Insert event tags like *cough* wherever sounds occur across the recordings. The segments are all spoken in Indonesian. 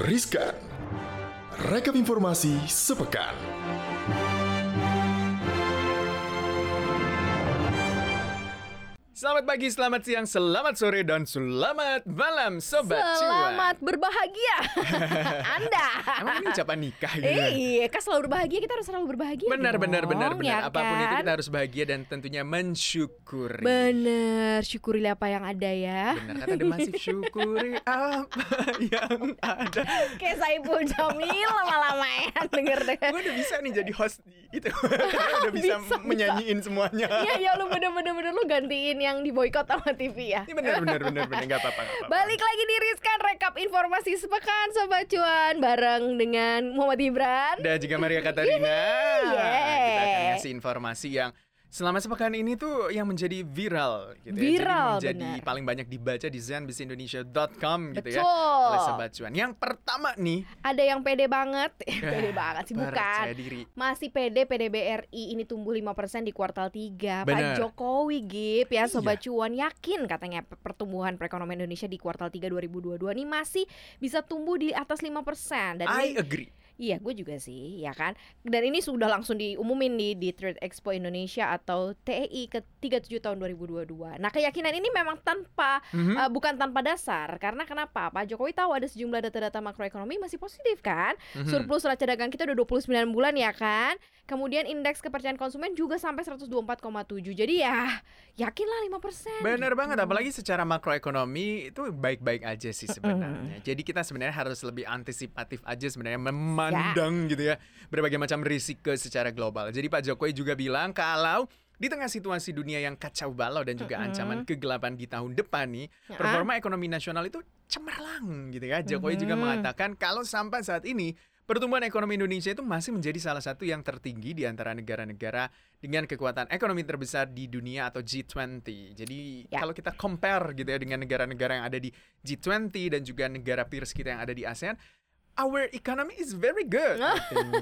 Riskan. Rekap informasi sepekan. Selamat pagi, selamat siang, selamat sore, dan selamat malam Sobat Selamat *laughs* berbahagia Anda Cuan Emang ini ucapan nikah gitu Eh, Iya kan selalu berbahagia Kita harus selalu berbahagia Benar, dong, benar, benar, benar ya Apapun kan? itu kita harus bahagia dan tentunya mensyukuri Bener Syukurilah apa yang ada ya Benar, kata ada masih syukuri apa yang ada *laughs* Kayak Saipul Jamil lama-lama ya *laughs* Denger-denger Gue udah bisa nih jadi host di itu *laughs* Karena udah bisa, Bisa, bisa. menyanyiin semuanya Iya, ya lu bener-bener Lu gantiin yang di boykot sama TV ya Ini Iya, benar, benar, benar, benar Gak apa-apa, nggak apa-apa Balik lagi di Rizkan Rekap informasi sepekan Sobat Cuan Bareng dengan Muhammad Ibran Dan juga Maria Katarina Kita akan yeay. ngasih informasi yang Selama sepekan ini tuh yang menjadi viral gitu ya. Viral, Jadi menjadi benar. paling banyak dibaca di zenbisindonesia.com gitu ya Betul. Oleh Sobat Cuan Yang pertama nih Ada yang pede banget *laughs* *laughs* Pede banget sih, bukan Percaya diri Masih PD PDBRI ini tumbuh 5% di kuartal 3 Pak Bener. Jokowi Gip ya Sobat Iya. Cuan yakin katanya pe- pertumbuhan perekonomian Indonesia di kuartal 3 2022 ini masih bisa tumbuh di atas 5% Dan I ini, agree iya gue juga sih ya kan Dan ini sudah langsung diumumin di, di Trade Expo Indonesia atau TEI ke 37 tahun 2022 Nah keyakinan ini memang tanpa Mhm. eh, bukan tanpa dasar Karena kenapa Pak Jokowi tahu ada sejumlah data-data makroekonomi masih positif kan Mhm. Surplus neraca dagang kita udah 29 bulan ya kan. Kemudian indeks kepercayaan konsumen juga sampai 124,7. Jadi ya yakinlah 5%. Benar banget, Hmm. apalagi secara makroekonomi itu baik-baik aja sih sebenarnya. Jadi kita sebenarnya harus lebih antisipatif aja sebenarnya memandang gitu ya berbagai macam risiko secara global. Jadi Pak Jokowi juga bilang kalau di tengah situasi dunia yang kacau balau dan juga ancaman kegelapan di tahun depan nih, Ya. performa ekonomi nasional itu cemerlang gitu ya. Jokowi juga Mhm. mengatakan kalau sampai saat ini pertumbuhan ekonomi Indonesia itu masih menjadi salah satu yang tertinggi di antara negara-negara dengan kekuatan ekonomi terbesar di dunia atau G20. Jadi Ya. kalau kita compare gitu ya dengan negara-negara yang ada di G20 dan juga negara peers kita yang ada di ASEAN, our economy is very *laughs* good. Gitu.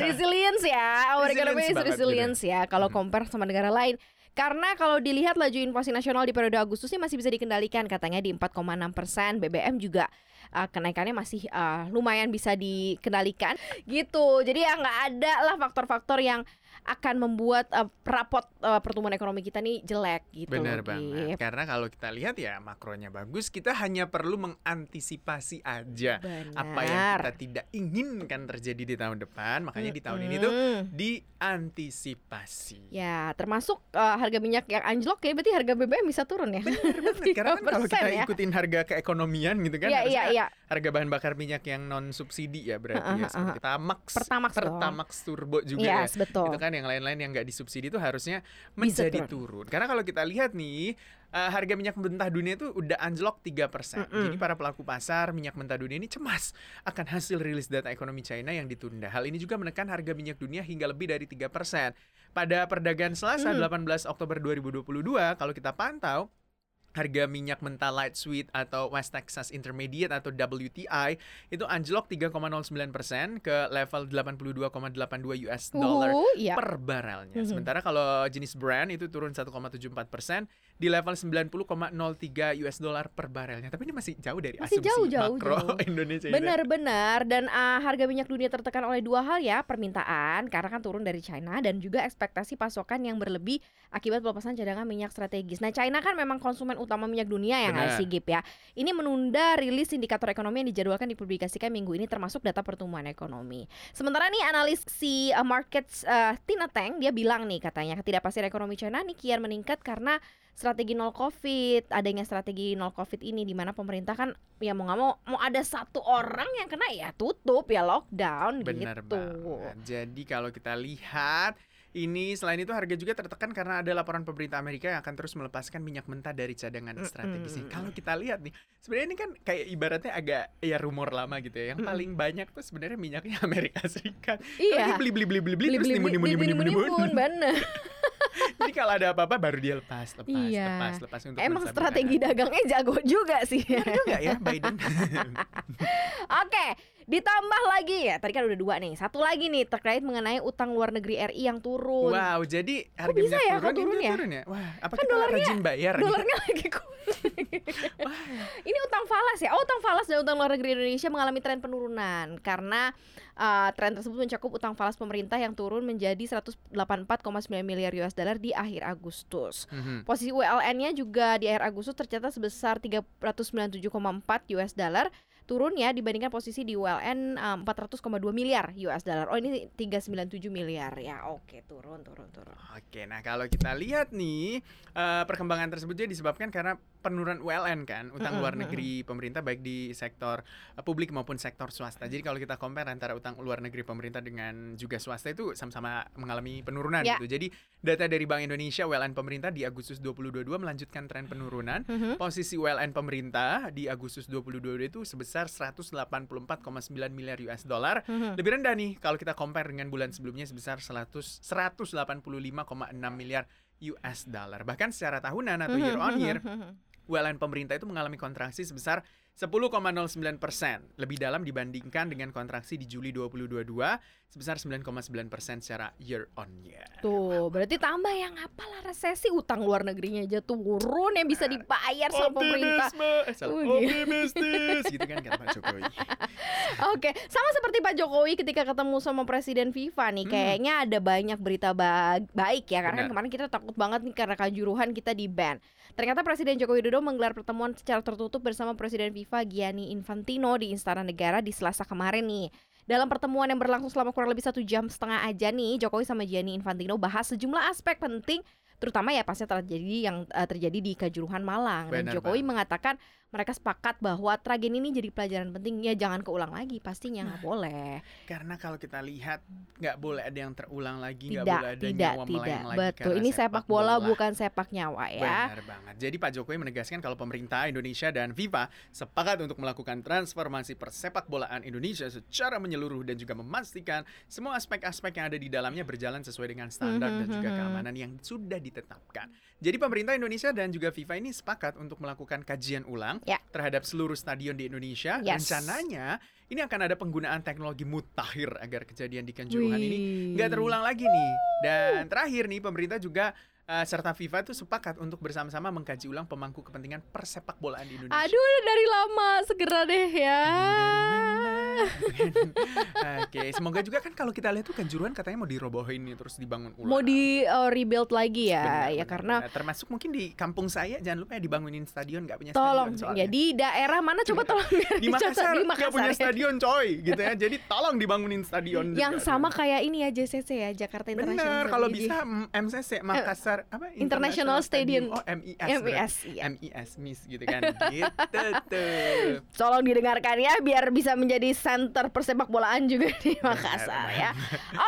resilience ya. Our Resilience economy is banget gitu. resilience ya kalau compare sama negara lain. Karena kalau dilihat laju inflasi nasional di periode Agustus ini masih bisa dikendalikan katanya di 4,6 persen. BBM juga uh, kenaikannya masih uh, lumayan bisa dikendalikan gitu. Jadi ya nggak ada lah faktor-faktor yang akan membuat uh, rapot uh, pertumbuhan ekonomi kita nih jelek gitu. Benar loh, banget. Gif. Karena kalau kita lihat ya makronya bagus, kita hanya perlu mengantisipasi aja Benar. Nah, apa yang kita tidak inginkan terjadi di tahun depan. Makanya di tahun ini tuh Mm. diantisipasi. Ya, termasuk uh, harga minyak yang anjlok ya, berarti harga BBM bisa turun ya. Bener, karena *laughs* kan kalau 3% kita ya. ikutin harga keekonomian gitu kan Iya, harusnya iya, iya. harga bahan bakar minyak yang non subsidi ya berarti ya Heeh, seperti Tamax Pertamax dong. Pertamax turbo juga Iya, Yes, ya betul. itu kan yang lain-lain yang nggak disubsidi itu harusnya Bisa menjadi turun. karena kalau kita lihat nih eh, harga minyak mentah dunia itu udah anjlok 3% Mm-mm. jadi para pelaku pasar minyak mentah dunia ini cemas akan hasil rilis data ekonomi China yang ditunda hal ini juga menekan harga minyak dunia hingga lebih dari 3% pada perdagangan Mm. Selasa 18 Oktober 2022 kalau kita pantau harga minyak mentah light sweet atau West Texas Intermediate atau WTI itu anjlok 3,09% ke level 82,82 US dollar Uhuh, iya. per barelnya. Mhm. Sementara kalau jenis brand itu turun 1,74% di level 90,03 US dollar per barelnya. Tapi ini masih jauh dari Masih asumsi jauh, jauh, makro jauh. *laughs* Indonesia. ini. Benar-benar dan ah, harga minyak dunia tertekan oleh dua hal ya permintaan karena kan turun dari China dan juga ekspektasi pasokan yang berlebih akibat pelepasan cadangan minyak strategis. Nah China kan memang konsumen utama minyak dunia yang Benar. ngasih Gip ya. Ini menunda rilis indikator ekonomi yang dijadwalkan dipublikasikan minggu ini termasuk data pertumbuhan ekonomi. Sementara nih analis si eh, markets eh, Tina Tang dia bilang nih katanya ketidakpastian ekonomi China nih kian meningkat karena strategi nol covid adanya strategi nol covid ini di mana pemerintah kan ya mau nggak mau mau ada satu orang yang kena ya tutup ya lockdown Benar gitu banget. Jadi kalau kita lihat ini selain itu harga juga tertekan karena ada laporan pemerintah Amerika yang akan terus melepaskan minyak mentah dari cadangan strategisnya. Kalau kita lihat nih, sebenarnya ini kan kayak ibaratnya agak ya rumor lama gitu ya. Yang paling banyak tuh sebenarnya minyaknya *laughs* Amerika Serikat. Kalau Iya. dia beli beli beli beli beli terus Beli-beli- nimbun nimbun nimbun nimbun. nimbun. nimbun, bener. Jadi kalau ada apa-apa baru dia lepas, lepas, Iya. lepas, lepas untuk Emang menstabilkan strategi harga. dagangnya jago juga sih. Benar juga ya Biden. *laughs* Oke, ditambah lagi ya. Tadi kan udah dua nih. Satu lagi nih terkait mengenai utang luar negeri RI yang turun. wow, jadi harga bisa minyak ya, kok turun, ini turun ya? turun ya? Wah, apa Kan kita dolarnya- rajin bayar? nih? Dolarnya lagi kuning. Ini utang falas ya? Oh, utang falas dan utang luar negeri Indonesia mengalami tren penurunan karena uh, tren tersebut mencakup utang falas pemerintah yang turun menjadi 184,9 miliar US dollar di akhir Agustus. Mhm. Posisi WLN-nya juga di akhir Agustus tercatat sebesar 397,4 US dollar turun ya dibandingkan posisi di WLN eh, 400,2 miliar US dollar. Oh ini 397 miliar ya. Oke, turun turun turun. Oke, nah kalau kita lihat nih eh, perkembangan tersebut jadi disebabkan karena penurunan ULN kan, utang Mm-mm, luar mm-mm. negeri pemerintah baik di sektor eh, publik maupun sektor swasta. Jadi kalau kita compare antara utang luar negeri pemerintah dengan juga swasta itu sama-sama mengalami penurunan Ya. gitu. Jadi data dari Bank Indonesia ULN pemerintah di Agustus 2022 melanjutkan tren penurunan. Mhm. Posisi ULN pemerintah di Agustus 2022 itu sebesar 184,9 miliar US dollar Mhm. lebih rendah nih kalau kita compare dengan bulan sebelumnya sebesar 100 185,6 miliar US dollar. Bahkan secara tahunan atau year on year, Mhm, mhm, mhm. ULN pemerintah itu mengalami kontraksi sebesar 10,09 persen, lebih dalam dibandingkan dengan kontraksi di Juli 2022 sebesar 9,9 persen secara year on year. Tuh, Gitu. berarti tambah yang apalah resesi utang luar negerinya aja turun yang bisa dibayar sama pemerintah. Optimisme, eh, salah, Oh, gitu. optimistis, gitu kan kata Pak Jokowi. Oke, sama seperti Pak Jokowi ketika ketemu sama Presiden FIFA nih, Hmm. kayaknya ada banyak berita ba- baik ya karena kan Benar. kemarin kita takut banget nih karena kanjuruhan kita di ban. Ternyata Presiden Joko Widodo menggelar pertemuan secara tertutup bersama Presiden FIFA Gianni Infantino di Istana Negara di Selasa kemarin nih. Dalam pertemuan yang berlangsung selama kurang lebih satu jam setengah aja nih, Jokowi sama Gianni Infantino bahas sejumlah aspek penting, terutama ya pasca terjadi yang eh, terjadi di Kanjuruhan Malang. Dan Benar Jokowi mengatakan mereka sepakat bahwa tragedi ini jadi pelajaran penting ya jangan keulang lagi pastinya Nah, nggak boleh Karena kalau kita lihat nggak boleh ada yang terulang lagi, nggak boleh tidak ada tidak nyawa tidak melayang lagi. betul karena ini sepak bola, bukan sepak nyawa ya Benar banget. Jadi Pak Jokowi menegaskan kalau pemerintah Indonesia dan FIFA sepakat untuk melakukan transformasi persepak bolaan Indonesia secara menyeluruh dan juga memastikan semua aspek-aspek yang ada di dalamnya berjalan sesuai dengan standar dan juga Mhm. keamanan yang sudah ditetapkan. Jadi pemerintah Indonesia dan juga FIFA ini sepakat untuk melakukan kajian ulang Ya. terhadap seluruh stadion di Indonesia. Yes. Rencananya ini akan ada penggunaan teknologi mutakhir agar kejadian di Kanjuruhan ini nggak terulang lagi nih. Dan terakhir nih pemerintah juga eh, serta FIFA tuh sepakat untuk bersama-sama mengkaji ulang pemangku kepentingan persepak bolaan di Indonesia. aduh udah dari lama segera deh ya *laughs* Oke, semoga juga kan kalau kita lihat tuh kanjuruhan katanya mau dirobohin nih terus dibangun ulang. mau di uh, rebuild lagi ya Benar, ya benar, karena benar. termasuk mungkin di kampung saya jangan lupa ya dibangunin stadion nggak punya tolong stadion soalnya. ya di daerah mana coba tolong biar di *laughs* dicatat. Makassar Di nggak punya ya. stadion coy gitu *laughs* ya. Jadi tolong dibangunin stadion yang juga. sama kayak ini ya JCC ya Jakarta International Bener, kalau Stadium. bisa mm, MCC Makassar apa International Stadium. Oh, MIS. berarti. MIS iya. MIS Miss gitu kan. gitu tuh. Tolong didengarkan ya biar bisa menjadi center persepak bolaan juga di Makassar ya.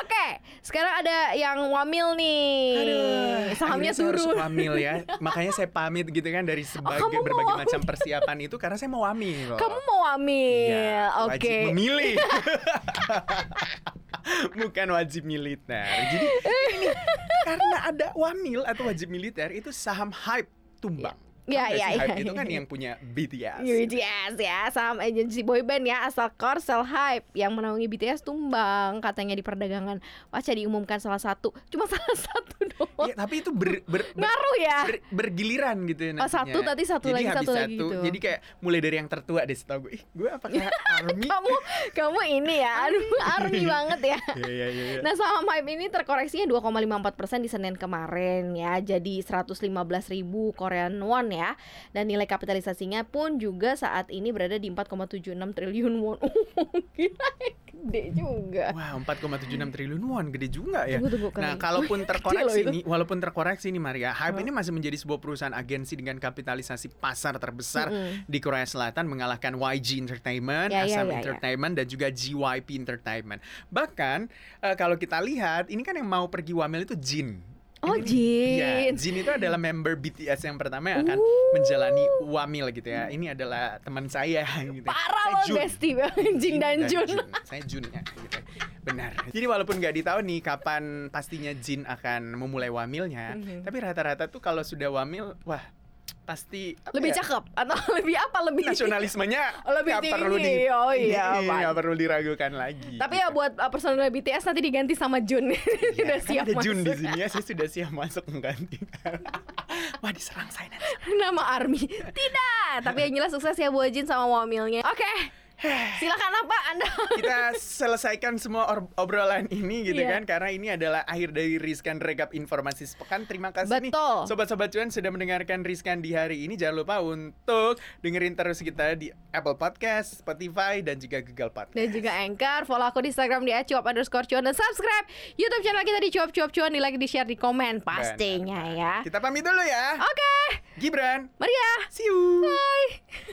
Oke, sekarang ada yang wamil nih. akhirnya Sahamnya saya harus turun. wamil ya. Makanya saya pamit gitu kan dari sebagai kamu mau berbagai wamil. macam persiapan itu karena saya mau wamil. Kamu mau wamil. Iya, Oke. Wajib memilih. *laughs* Bukan wajib militer. Jadi ini karena ada wamil atau wajib militer itu saham hype tumbang. Iya, Tahu nggak iya, sih iya, Hype itu iya, kan iya. yang punya BTS. BTS ya, saham agensi boyband ya asal Korsel Hype yang menaungi BTS tumbang katanya di perdagangan. Pasca diumumkan salah satu, cuma *laughs* salah satu doang. Iya, tapi itu ber- ber- ber- Ngaruh ya. ber- bergiliran gitu nantinya. Oh, satu tadi, satu jadi lagi, habis satu lagi gitu. Jadi kayak mulai dari yang tertua deh setahu gue. Ih, gue apakah *laughs* army? Kamu kamu ini ya, aduh army banget ya. Iya iya iya. iya. Nah saham hype ini terkoreksinya 2,54 persen di Senin kemarin ya Jadi 115 ribu Korean won ya Dan nilai kapitalisasinya pun juga saat ini berada di 4,76 triliun won *laughs* Gila gede juga Nah, Wah, 4,76 triliun won gede juga ya. Tunggu, tunggu, Nah, keren. *laughs* kalaupun loh terkoreksi itu. Oh. nih, walaupun terkoreksi nih Maria, Hype ini masih menjadi sebuah perusahaan agensi dengan kapitalisasi pasar terbesar Mm-mm. di Korea Selatan mengalahkan YG Entertainment, Ya, ya, SM ya, ya. Entertainment dan juga GYP Entertainment. Bahkan eh, kalau kita lihat, ini kan yang mau pergi wamil itu Jin. Oh Ini- Ya, Jin Jin itu adalah member BTS yang pertama yang akan menjalani wamil gitu ya. Ini adalah teman saya *laughs* gitu. Parah Saya loh Jun. *laughs* Besti Jin dan Jun Saya Jun ya gitu. Benar. Jadi walaupun nggak ditahu nih kapan pastinya Jin akan memulai wamilnya, Mhm. tapi rata-rata tuh kalau sudah wamil, wah pasti apa Lebih ya, cakep Atau *laughs* lebih apa lebih nasionalismenya *laughs* Lebih nggak perlu tinggi. di- Oh iya, Iya, Pak. nggak perlu diragukan lagi. Tapi ya gitu. buat uh, personel BTS nanti diganti sama Jun *laughs* Iya, Sudah kan siap ada Jun di *laughs* masuk sini ya, saya *laughs* sudah siap masuk mengganti. Wah diserang saya nanti. Nama ARMY Tidak tapi yang jelas sukses ya Bu Jin sama Wamilnya. Oke. *sighs* Silakan apa Anda? *laughs* kita selesaikan semua or- obrolan ini gitu Iya. kan karena ini adalah akhir dari Riskan Rekap Informasi Sepekan. Terima kasih nih Betul. sobat-sobat cuan sudah mendengarkan Riskan di hari ini. Jangan lupa untuk dengerin terus kita di Apple Podcast, Spotify dan juga Google Podcast. Dan juga Anchor, follow aku di Instagram di @cuap underscore cuan dan subscribe YouTube channel kita di cuap cuap cuan, di like, di share, di komen pastinya ya. Oh. Kita pamit dulu ya. Oke, ya. Gibran, Maria, see you. bye.